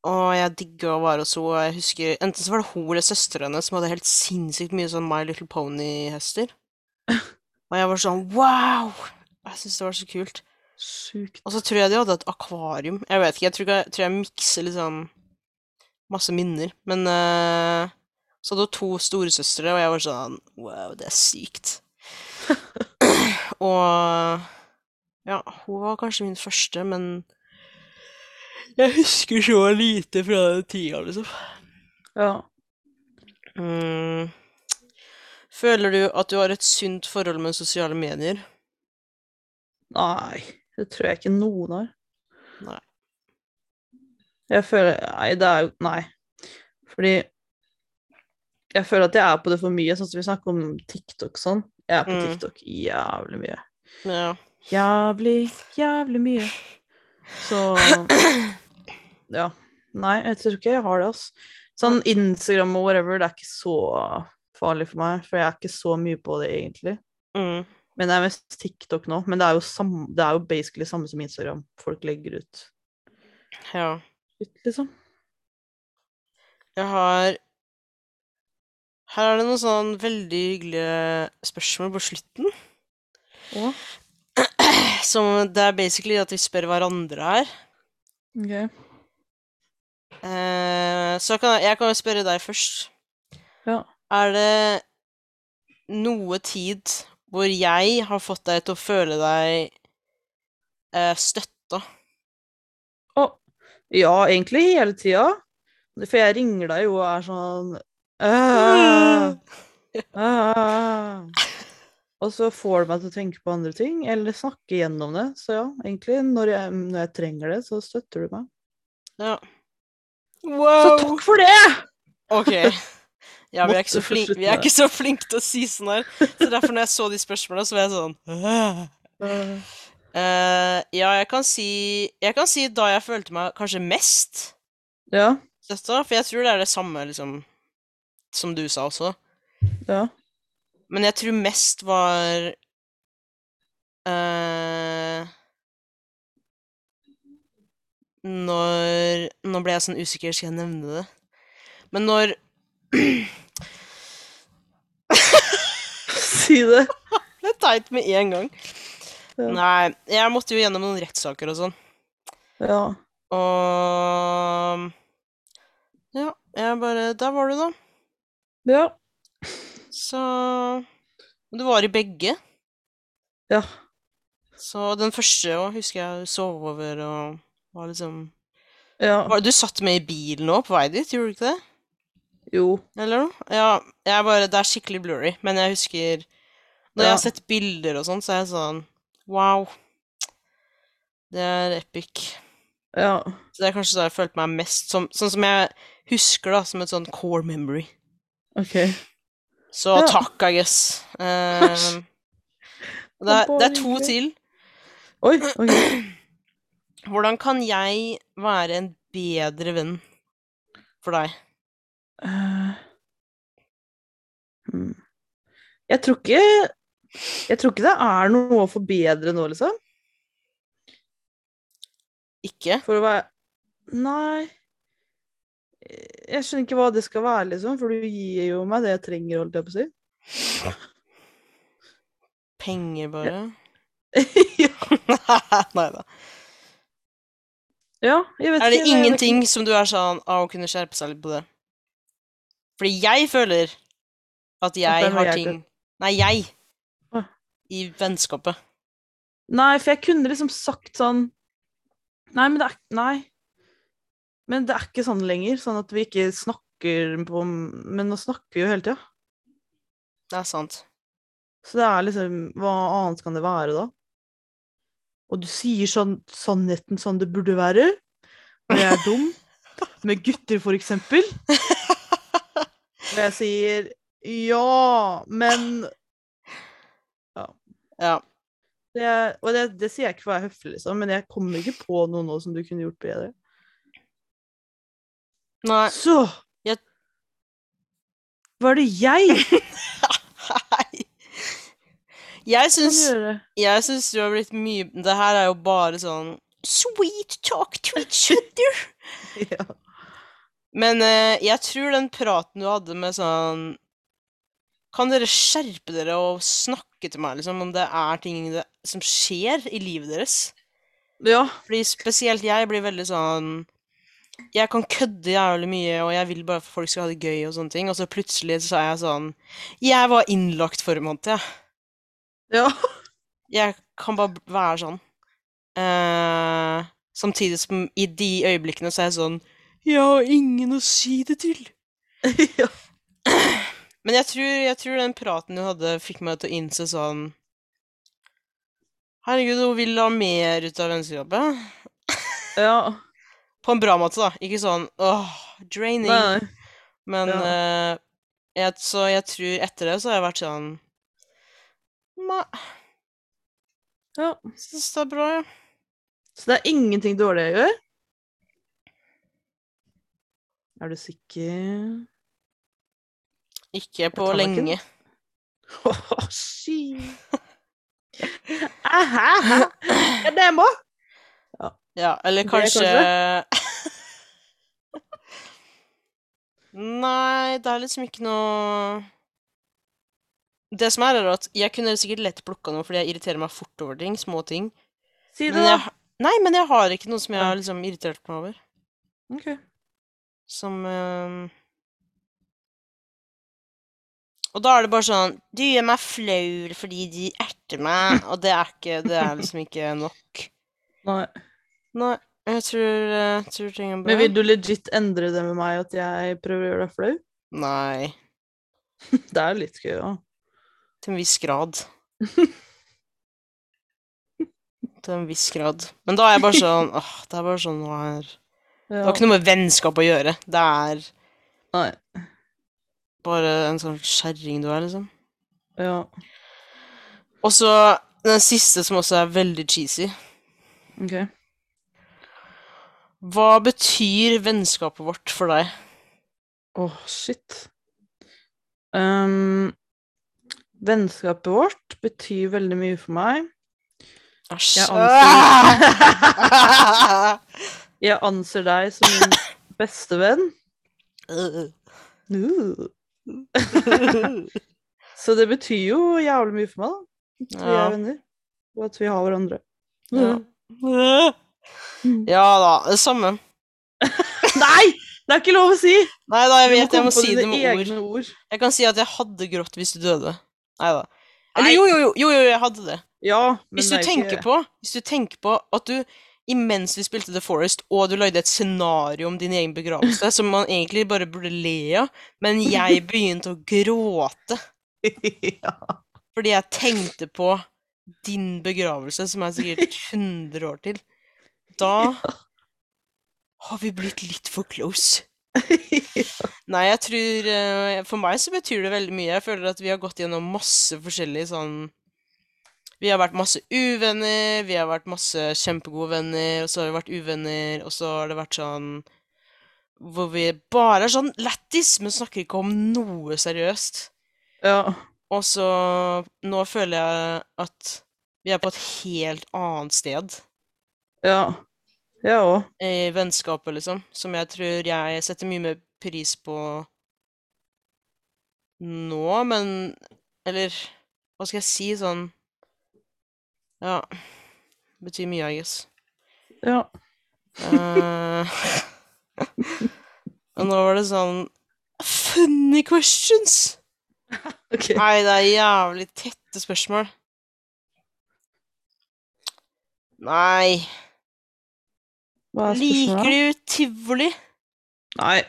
A: Og jeg digga å være hos henne. og Jeg husker, enten så var det hun eller søstera hennes som hadde helt sinnssykt mye sånn My Little Pony-hester. Og jeg var sånn wow! Jeg syntes det var så kult.
B: Sjukt.
A: Og så tror jeg de hadde et akvarium. Jeg vet ikke, jeg tror, ikke- jeg, tror jeg mikser liksom masse minner. Men eh, så hadde hun to storesøstre, og jeg var sånn Wow, det er sykt. og ja, hun var kanskje min første, men jeg husker så lite fra den tida, liksom.
B: Ja.
A: Mm. Føler du at du har et sunt forhold med sosiale medier?
B: Nei, det tror jeg ikke noen har.
A: Nei.
B: Jeg føler Nei, det er jo Nei. Fordi jeg føler at jeg er på det for mye, sånn som vi snakker om TikTok sånn. Jeg er på
A: Mm.
B: TikTok jævlig mye.
A: Ja.
B: Jævlig, jævlig mye. Så Ja. Nei, jeg tror ikke jeg har det, altså. Sånn Instagram og whatever, det er ikke så farlig for meg, for jeg er ikke så mye på det, egentlig.
A: Mm.
B: Men det er mest TikTok nå. Men det er jo, sam det er jo basically samme som Instagram. Folk legger ut
A: ja.
B: ut, liksom.
A: Jeg har Her er det noen sånn veldig hyggelige spørsmål på slutten.
B: Å,
A: Som det er basically at vi spør hverandre her.
B: ok.
A: Eh, så kan jeg, jeg kan jo spørre deg først.
B: Ja.
A: Er det noe tid hvor jeg har fått deg til å føle deg eh, støtta?
B: Å, ja, egentlig hele tida. For jeg ringer deg jo og er sånn «Æ, æ, æ». Og så får det meg til å tenke på andre ting, eller snakke gjennom det. Så ja, egentlig, når jeg, når jeg trenger det, så støtter du meg. Så
A: Wow!
B: takk for det!
A: Ok. Ja, vi er,
B: Måtte
A: ikke så
B: få
A: flink,
B: slutten
A: vi er
B: der.
A: ikke så flinke til å si sånn her. Så derfor, når jeg så de spørsmåla, så var jeg sånn «Åh».
B: Eh,
A: Eh, ja, jeg kan si Jeg kan si da jeg følte meg kanskje mest
B: Ja,
A: støtta, for jeg tror det er det samme liksom som du sa også.
B: ja.
A: Men jeg tror mest var eh, Når Nå ble jeg sånn usikker, skal jeg nevne det? Men når
B: Si det.
A: Det er teit med en gang.
B: Ja.
A: Nei, jeg måtte jo gjennom noen rettssaker og sånn.
B: Ja.
A: Og Ja, jeg bare Der var du, da.
B: Ja.
A: Så og Du var i begge.
B: Ja.
A: Så den første òg husker jeg sov over og var liksom
B: ja.
A: Var- Du satt med i bilen òg på vei dit, gjorde du ikke det?
B: Jo.
A: Eller noe? Ja, jeg bare Det er skikkelig blurry, men jeg husker Når jeg
B: Ja.
A: har sett bilder og sånn, så er jeg sånn Wow. Det er epic.
B: Ja.
A: Så det er kanskje da jeg følte meg mest som Sånn som jeg husker, da, som et sånn core memory.
B: OK.
A: Så
B: Ja.
A: takk, I guess. Ehm, og det, er, det er to
B: Bare hyggelig.
A: til.
B: Oi. ok.
A: Hvordan kan jeg være en bedre venn for deg?
B: Eh, hmm. Jeg tror ikke Jeg tror ikke det er noe å forbedre nå, liksom.
A: Ikke?
B: For å være Nei. Jeg skjønner ikke hva det skal være, liksom, for du gir jo meg det jeg trenger, holdt jeg på å si.
A: Penger, bare?
B: ja.
A: Nei da.
B: ja, jeg vet
A: Er det
B: ikke, jeg vet
A: ingenting som du er sånn av å kunne skjerpe seg litt på det? Fordi jeg føler at jeg
B: er noe
A: har
B: jeg
A: ting Nei, jeg.
B: Åh.
A: I vennskapet.
B: Nei, for jeg kunne liksom sagt sånn Nei, men det er Nei. Men det er ikke sånn lenger, sånn at vi ikke snakker på Men nå snakker vi jo hele tida.
A: Det er sant.
B: Så det er liksom Hva annet kan det være, da? Og du sier sånn sannheten sånn det burde være. Når jeg er dum. Med gutter, for eksempel. Og jeg sier ja, men
A: Ja.
B: det, Og det, det sier jeg ikke for å være høflig, liksom, men jeg kommer ikke på noe nå som du kunne gjort bedre.
A: Nei.
B: Så
A: Jeg-
B: Hva er det jeg
A: Nei. Jeg
B: kan
A: syns
B: gjøre?
A: Jeg syns du har blitt mye Det her er jo bare sånn Sweet talk to each other.
B: Ja.
A: Men eh, jeg tror den praten du hadde med sånn Kan dere skjerpe dere og snakke til meg liksom, om det er ting det, som skjer i livet deres?
B: ja.
A: Fordi spesielt jeg blir veldig sånn Jeg kan kødde jævlig mye, og jeg vil bare at folk skal ha det gøy, og sånne ting. Og så plutselig så er jeg sånn Jeg var innlagt forrige måned, jeg.
B: Ja.
A: jeg kan bare b- være sånn. Eh, samtidig som i de øyeblikkene så er jeg sånn Jeg har ingen å si det til.
B: ja.
A: Men jeg tror, jeg tror den praten du hadde, fikk meg til å innse sånn Herregud, hun vil ha mer ut av vennskapet.
B: ja.
A: På en bra måte, da. Ikke sånn åh, draining.
B: Nei.
A: Men eh, jeg, så jeg tror etter det så har jeg vært sånn Nei,
B: Ja.
A: syns det er bra, ja.
B: Så det er ingenting dårlig jeg gjør? Er du sikker?
A: Ikke på
B: tar meg ikke
A: lenge.
B: Åh, sky. Aha, ja, det må.
A: Ja, eller
B: Det
A: kanskje
B: kanskje?
A: Nei, det er liksom ikke noe Det som er, er at jeg kunne sikkert lett plukka noe fordi jeg irriterer meg fort over ting. Små ting.
B: Si det,
A: Men jeg,
B: da.
A: nei, men jeg har ikke noe som jeg
B: Ja.
A: har liksom irritert meg over.
B: Ok.
A: Som eh, Og da er det bare sånn Du gjør meg flau fordi de erter meg, og det er ikke Det er liksom ikke nok.
B: Nei.
A: Nei, jeg tror, eh, tror ting er bra.
B: Men vil du legit endre det med meg, at jeg prøver å gjøre deg flau?
A: Nei.
B: Det er jo litt gøy, da.
A: Til en viss grad. Til en viss grad. Men da er jeg bare sånn åh, Det er bare sånn nå er Det har
B: Ja.
A: ikke noe med vennskap å gjøre. Det er
B: Nei.
A: bare en sånn kjerring du er, liksom.
B: Ja.
A: Og så den siste, som også er veldig cheesy.
B: Ok.
A: Hva betyr vennskapet vårt for deg?
B: Åh, shit. Ehm, vennskapet vårt betyr veldig mye for meg.
A: Æsj.
B: Jeg Jeg anser deg som min beste venn. Uh. Så det betyr jo jævlig mye for meg, da. At vi
A: Ja.
B: er venner. Og at vi har hverandre.
A: Ja.
B: Uh.
A: ja da. Det samme.
B: Nei! Det er ikke lov å si!
A: Nei da, jeg
B: Du
A: vet jeg
B: komme
A: må
B: på
A: si det
B: dine
A: med ord.
B: egne ord.
A: Jeg kan si at jeg hadde grått hvis du døde. Neida. Eller
B: Nei.
A: jo, jo, jo, jo, jo, jeg hadde det.
B: Ja, men
A: Hvis du,
B: det er
A: tenker
B: ikke...
A: på, hvis du tenker på at du imens vi spilte The Forest, og du lagde et scenario om din egen begravelse, som man egentlig bare burde le av, men jeg begynte å gråte
B: ja.
A: fordi jeg tenkte på din begravelse, som er sikkert 100 år til. Da har vi blitt litt for close. Nei, jeg tror eh, For meg så betyr det veldig mye. Jeg føler at vi har gått gjennom masse forskjellig sånn Vi har vært masse uvenner, vi har vært masse kjempegode venner, og så har vi vært uvenner, og så har det vært sånn Hvor vi bare er sånn lættis, men snakker ikke om noe seriøst.
B: ja.
A: Og så Nå føler jeg at vi er på et helt annet sted
B: Ja. Jeg òg.
A: i vennskapet, liksom, som jeg tror jeg setter mye mer pris på nå, men Eller hva skal jeg si? Sånn Ja. Betyr mye, I guess.
B: Ja.
A: Eh, og nå var det sånn Funny questions!
B: OK.
A: Nei, det er jævlig tette spørsmål. Nei
B: Hva er spørsmålet?
A: Liker du tivoli?
B: Nei.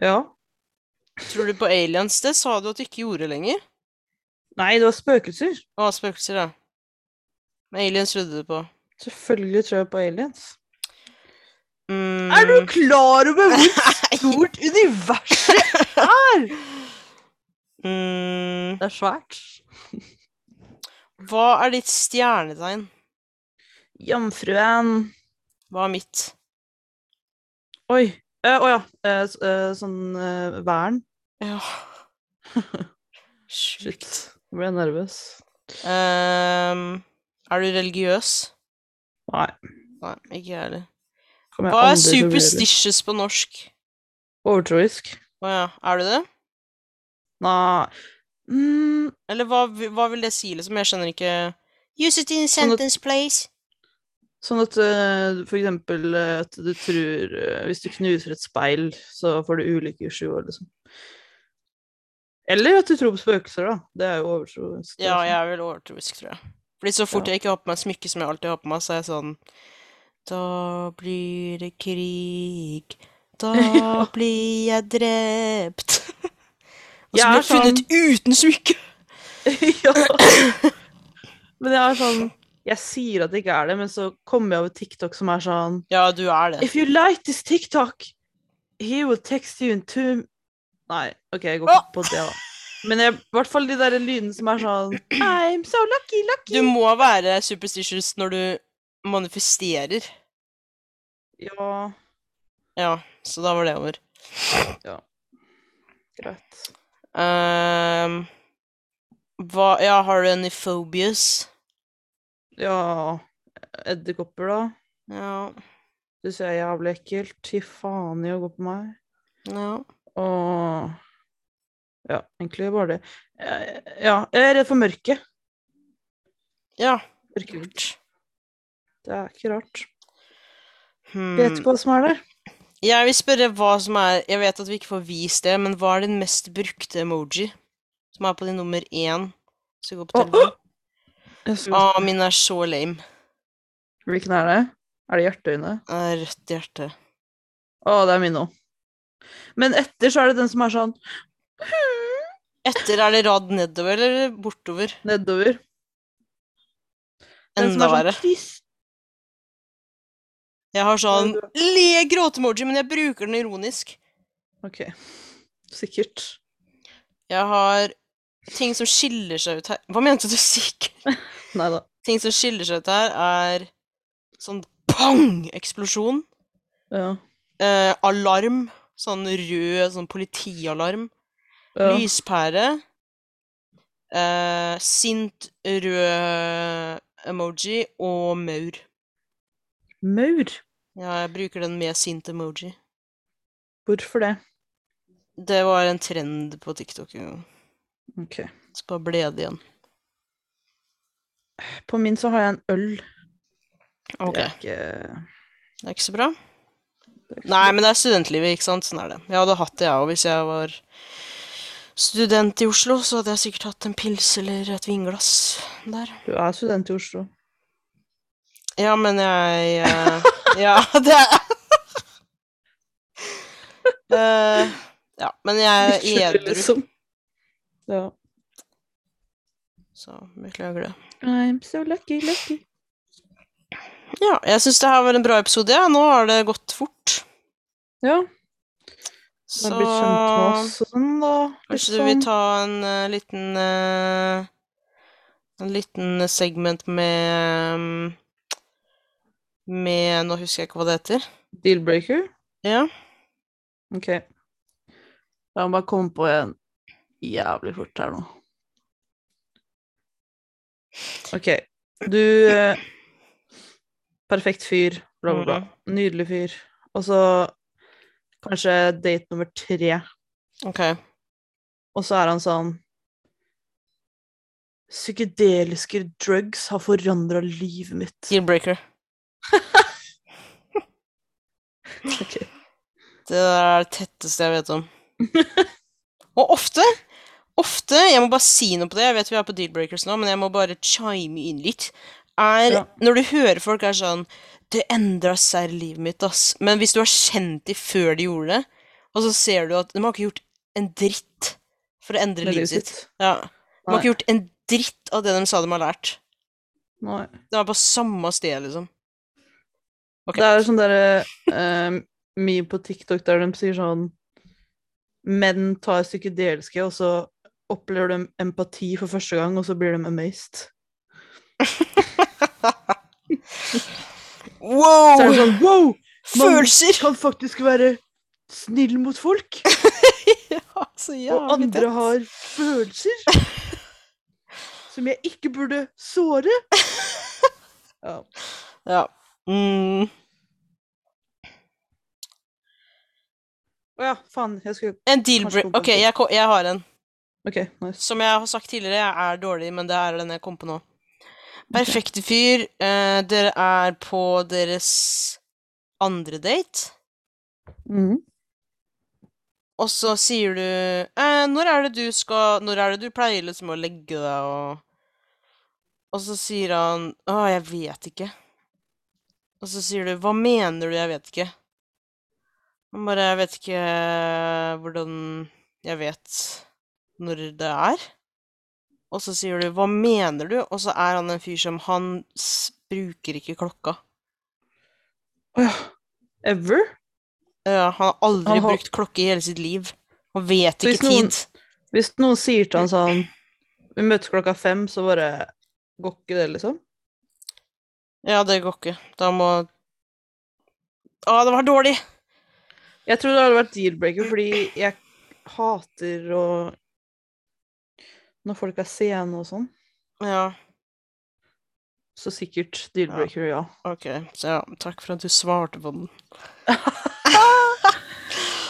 B: Ja.
A: Tror du på aliens? Det sa du at du ikke gjorde lenger.
B: Nei, det var spøkelser.
A: Å, spøkelser, ja. Men aliens trodde du på.
B: Selvfølgelig tror jeg på aliens.
A: Mm,
B: Er du klar over hvor stort universet er?
A: mm,
B: Det er svært.
A: Hva er ditt stjernetegn?
B: Jomfruen.
A: Hva er mitt?
B: Oi. Eh, Å ja. Eh, s- eh, sånn eh, vern.
A: Ja.
B: Shit.
A: Sjukt.
B: Nå ble jeg nervøs.
A: Ehm, er du religiøs?
B: Nei.
A: Nei, ikke jeg heller.
B: Kom jeg
A: Hva er
B: aldri til å bli det.
A: superstitious på norsk?
B: Overtroisk?
A: Å ja, er du det?
B: Nei. Mm,
A: Eller hva, vi- hva vil det si, liksom? Jeg skjønner ikke Use it in sentence, please.
B: sånn at eh, for eksempel eh, at du tror eh, Hvis du knuser et speil, så får du ulike sjuår, liksom. Eller at du tror på spøkelser, da. Det er jo overtroisk. det
A: Ja,
B: også.
A: jeg er vel overtroisk, tror jeg. Fordi så fort
B: Ja.
A: jeg ikke har på meg smykke som jeg alltid har på meg, så er jeg sånn Da blir det krig. Da
B: Ja.
A: blir jeg drept. Og
B: Jeg
A: så
B: er
A: blir jeg sånn- funnet uten smykke.
B: ja. Men jeg er sånn Jeg sier at det ikke er det, men så kommer jeg over TikTok som er sånn
A: Ja, du er det.
B: If you like this TikTok, he will text you in two Nei, OK, jeg går ikke på det, da. Men jeg, i hvert fall de der lydene som er sånn I'm so lucky, lucky.
A: Du må være superstitious når du manifesterer.
B: Ja,
A: Ja, så da var det over.
B: greit.
A: Ehm, hva Ja, har du any phobias?
B: Ja Edderkopper, da.
A: Ja.
B: Det ser jævlig ekkelt. Fy faen i å gå på meg.
A: ja.
B: Og Ja, egentlig bare det. Eh, Ja, jeg er redd for mørket.
A: Ja.
B: Mørket.
A: Lurt.
B: Det er ikke rart. Jeg vet
A: Hmm.
B: ikke hva som er der.
A: Jeg vil spørre hva som er Jeg vet at vi ikke får vist det, men hva er den mest brukte emoji? Som er på din nummer én. Så gå på
B: Å,
A: telefonen.
B: Jeg så-
A: Ah, min er så lame.
B: Hvilken er det? Er det hjerteøyne?
A: Det er Rødt hjerte.
B: Å, det er min òg. Men etter så er det den som er sånn
A: Etter er det rad nedover eller bortover?
B: nedover. Den som
A: Enda
B: er sånn
A: verre.
B: trist.
A: Jeg har sånn
B: Ja,
A: le gråte-emoji, men jeg bruker den ironisk.
B: OK. Sikkert.
A: Jeg har ting som skiller seg ut her Hva mente du, sikkert?
B: Nei da.
A: Ting som skiller seg ut her, er sånn pang-eksplosjon.
B: Ja.
A: Eh, alarm. Sånn rød sånn politialarm.
B: ja.
A: Lyspære. Eh, sint rød emoji og maur.
B: Maur.
A: Ja, jeg bruker den med sint emoji.
B: Hvorfor det?
A: Det var en trend på TikTok en gang.
B: OK.
A: Så bare ble det igjen.
B: På min så har jeg en øl.
A: Ok,
B: Det er ikke
A: Det er ikke så bra.
B: det er ikke så
A: Nei, men det er studentlivet, ikke sant? Sånn er det. Jeg hadde hatt det, jeg òg, hvis jeg var student i Oslo. Så hadde jeg sikkert hatt en pils eller et vinglass der.
B: Du er student i Oslo.
A: Ja, men jeg eh, Ja, det er Eh, Ja, men jeg er
B: Skjønner,
A: edru,
B: liksom. Ja.
A: så beklager det.
B: I'm so lucky, lucky.
A: Ja, jeg syns det her var en bra episode. Ja. Nå har det gått fort.
B: Ja,
A: Så
B: man blir kjent med oss og sånn, da. Litt
A: kanskje du vil
B: sånn.
A: ta en eh, liten eh, En liten segment med mm, Med Nå husker jeg ikke hva det heter.
B: Dealbreaker?
A: Ja.
B: Ok. La meg bare komme på en. jævlig fort her nå. OK. Du eh, Perfekt fyr, bla, bla, bla. Nydelig fyr. Og så kanskje date nummer tre,
A: Ok.
B: og så er han sånn Psykedeliske drugs har forandra livet mitt.
A: Deal-breaker.
B: Ok.
A: Det er det tetteste jeg vet om. Og ofte Ofte, jeg må bare si noe på det, jeg vet vi er på deal-breakers nå, men jeg må bare chime inn litt, er
B: Ja.
A: når du hører folk er sånn Det endra seg livet mitt, ass. Men hvis du har kjent de før de gjorde det, og så ser du at de har ikke gjort en dritt for å endre
B: Med
A: livet sitt.
B: sitt.
A: Ja. De har
B: Nei.
A: ikke gjort en dritt av det de sa de har lært.
B: Nei.
A: De er på samme sted, liksom. Ok.
B: Det er sånn derre uh, meme på TikTok der de sier sånn Menn tar psykedeliske, og så opplever de empati for første gang, og så blir de amazed. Så er det
A: Wow!
B: sånn Wow!
A: Følelser!
B: Kan faktisk være snill mot folk,
A: Ja, så
B: og
A: jævlig
B: andre
A: tett.
B: har følelser som jeg ikke burde såre. Ja.
A: Ja. Mm.
B: Å ja, faen. Jeg skulle
A: En deal-breaker
B: Kanskje
A: Ok, jeg, ko- jeg har en.
B: OK, nice.
A: Som jeg har sagt tidligere, jeg er dårlig, men det er den jeg kom på nå. Perfekte fyr. Eh, dere er på deres andre date, Mm.
B: Mhm.
A: og så sier du eh, 'Når er det du skal Når er det du pleier liksom å legge deg?' og Og så sier han 'Å, jeg vet ikke'. Og så sier du 'Hva mener du, jeg vet ikke'? Han bare 'Jeg vet ikke eh, hvordan jeg vet når det er'. Og så sier du 'Hva mener du?' Og så er han en fyr som Han s bruker ikke klokka.
B: Å ja. Ever?
A: Ja, Eh, han har aldri
B: Han har-
A: brukt klokke i hele sitt liv. Han vet
B: Hvis
A: ikke
B: noen-
A: tid.
B: Hvis noen sier til han sånn Vi møtes klokka fem, så bare går ikke det, liksom?
A: Ja, det går ikke. Da må Å, det var dårlig!
B: Jeg tror det hadde vært deal-breaker, fordi jeg hater å Når folk er sene og sånn,
A: Ja.
B: så sikkert deal-breaker, ja.
A: Ok, så ja, takk for at du svarte på den.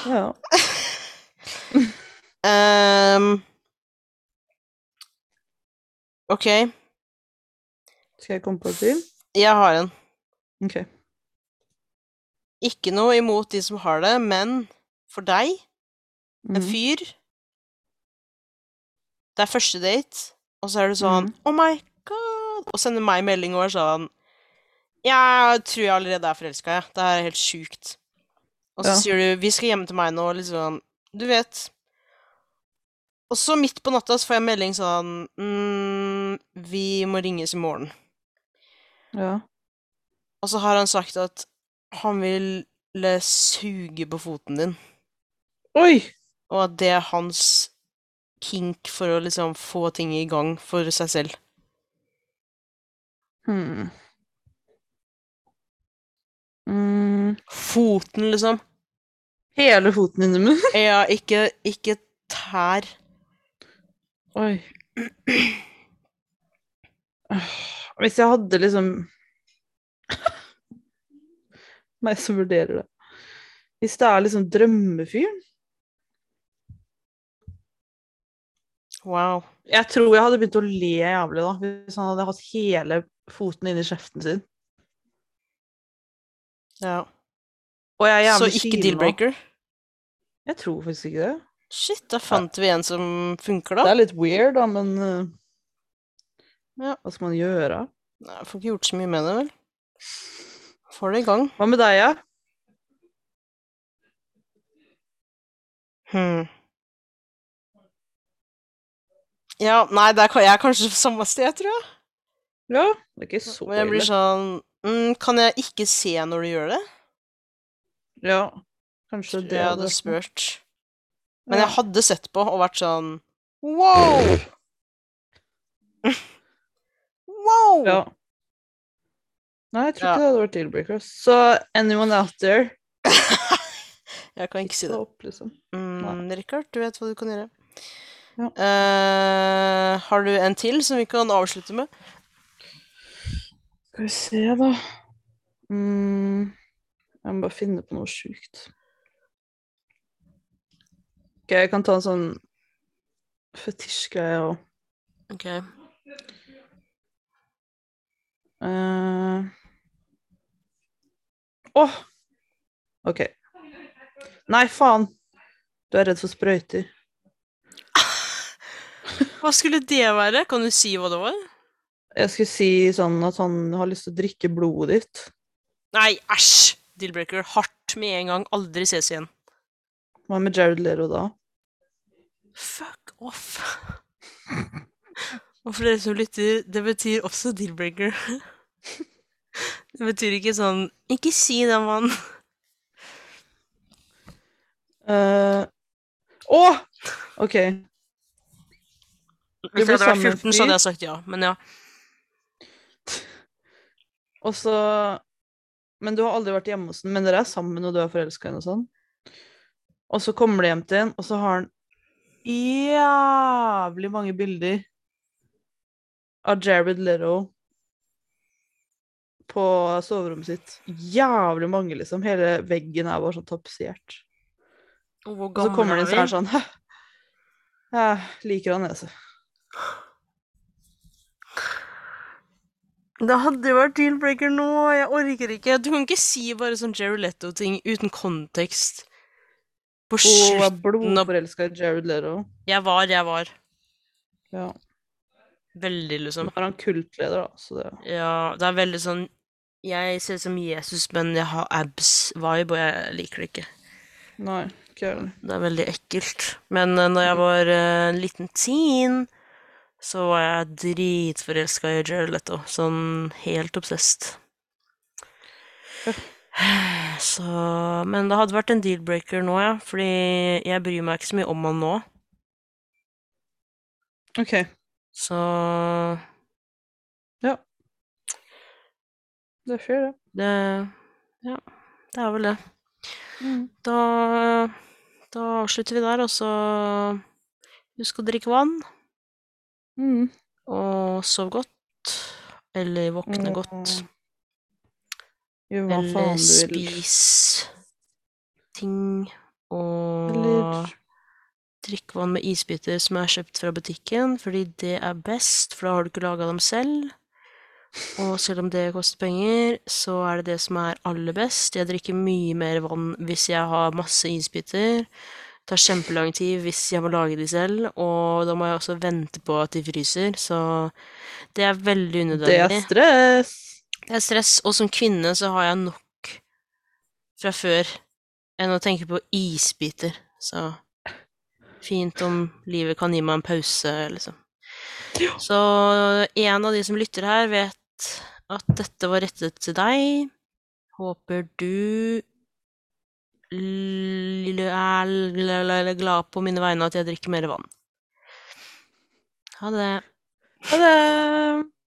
B: ja.
A: Ehm, ok,
B: Skal jeg komme på et deal?
A: jeg har en.
B: OK.
A: Ikke noe imot de som har det, men for deg, en
B: Mhm.
A: fyr Det er første date, og så er du sånn Oh my god! Og sender meg melding og er sånn Jeg tror jeg allerede er forelska, jeg. Det her er helt sjukt. Og så
B: Ja.
A: sier du Vi skal hjem til meg nå, liksom. Du vet. Og så midt på natta så får jeg melding sånn mm, Vi må ringes i morgen.
B: Ja.
A: Og så har han sagt at han vil eh, suge på foten din.
B: Oi!
A: Og at det er hans kink for å liksom få ting i gang for seg selv.
B: Hmm. Mm.
A: Foten, liksom.
B: Hele foten inni munnen.
A: Ja, ikke, ikke tær.
B: Oi. Hvis jeg hadde liksom Meg som vurderer det. Hvis det er liksom drømmefyren
A: Wow.
B: Jeg tror jeg hadde begynt å le jævlig da, hvis han hadde hatt hele foten inni kjeften sin.
A: Ja.
B: Og jeg er
A: Så
B: jævlig
A: ikke
B: kyl nå.
A: deal-breaker?
B: Jeg tror faktisk ikke det.
A: Shit, da fant vi en som funker,
B: Det
A: da.
B: er litt weird, da, men eh,
A: Ja.
B: Hva skal man gjøre?
A: Nei, jeg får ikke gjort så mye med det, vel. Får det i gang.
B: Hva med deg, ja?
A: Hmm. Ja, nei, det er, ka- jeg er kanskje på samme sted, tror jeg.
B: Ja? Det er ikke så
A: Men jeg blir
B: ille.
A: sånn mm, Kan jeg ikke se når du gjør det? sånn-
B: Ja. Kanskje det
A: Jeg hadde
B: vært noe.
A: spurt. Men
B: Ja.
A: jeg hadde sett på og vært sånn Wow! wow!
B: Ja. Nei, jeg tror
A: Ja.
B: ikke det hadde vært deal-breaker. Så anyone out there
A: Jeg kan ikke si
B: ta
A: det.
B: opp, liksom.
A: Mm, Rikard, du vet hva du kan gjøre.
B: Ja.
A: Eh, har du en til som vi kan avslutte med?
B: Skal vi se, da. Mm, jeg må bare finne på noe sjukt. Ok, jeg kan ta en sånn fetisjgreie og
A: Ok.
B: eh. Åh! Ok. Nei, faen! Du er redd for sprøyter.
A: Hva skulle det være? Kan du si hva det var?
B: Jeg skulle si sånn at han har lyst til å drikke blodet ditt.
A: Nei, æsj! Dealbreaker hardt med en gang. Aldri ses igjen.
B: Hva med Jared Lero da?
A: Fuck off. Og for dere som lytter, det betyr også dealbreaker. Det betyr ikke sånn Ikke si det, mann.
B: Eh, Åh! Ok.
A: Hvis jeg
B: blir
A: hadde vært
B: sammen
A: 14, så hadde
B: fyr.
A: jeg sagt ja. Men ja.
B: Og så Men du har aldri vært hjemme hos den, men dere er sammen, og du er forelska i henne og sånn. Og så kommer du hjem til henne, og så har han jævlig mange bilder av Jared Leto på soverommet sitt. Jævlig mange, liksom. Hele veggen er bare sånn tapetsert.
A: Og hvor
B: Og så kommer
A: gammel
B: det
A: er
B: inn så er
A: vi?
B: han sånn «Hæ, Jeg liker han, jeg, altså.
A: Det hadde jo vært dealbreaker nå. Jeg orker ikke. Du kan ikke si bare sånn Jerry Letto-ting uten kontekst. På
B: Og er
A: slutt.
B: blodforelska i Jared Leto.
A: Jeg var, jeg var.
B: Ja.
A: Veldig, liksom.
B: Nå er han kultleder, da, så det
A: Ja, det er veldig sånn Jeg ser ut som Jesus, men jeg har abs-vibe, og jeg liker det ikke.
B: Nei, ikke jeg heller.
A: Det er veldig ekkelt. Men uh, når jeg var eh, en liten teen, så var jeg dritforelska i Jared Leto. Sånn helt obsessed. Så Men det hadde vært en deal-breaker nå, ja. Fordi jeg bryr meg ikke så mye om han nå.
B: Ok.
A: Så
B: Det skjer, det.
A: det Ja, det er vel det.
B: Mm.
A: Da, da avslutter vi der, og så husk å drikke vann,
B: Mm.
A: og sov godt, eller våkne
B: Og
A: godt,
B: Gjør hva
A: eller
B: faen du vil.
A: spis ting, og
B: Eller
A: drikk vann med isbiter som er kjøpt fra butikken, fordi det er best, for da har du ikke laga dem selv. Og selv om det koster penger, så er det det som er aller best. Jeg drikker mye mer vann hvis jeg har masse isbiter. Det tar kjempelang tid hvis jeg må lage de selv, og da må jeg også vente på at de fryser, så det er veldig
B: Det er
A: unødvendig.
B: stress!
A: Det er stress, og som kvinne så har jeg nok fra før enn å tenke på isbiter. Så fint om livet kan gi meg en pause, liksom.
B: Ja.
A: Så en av de som lytter her, vet at dette var rettet til deg. Håper du l- er l- l- glad på mine vegne at jeg drikker mer vann. Ha det.
B: Ha det!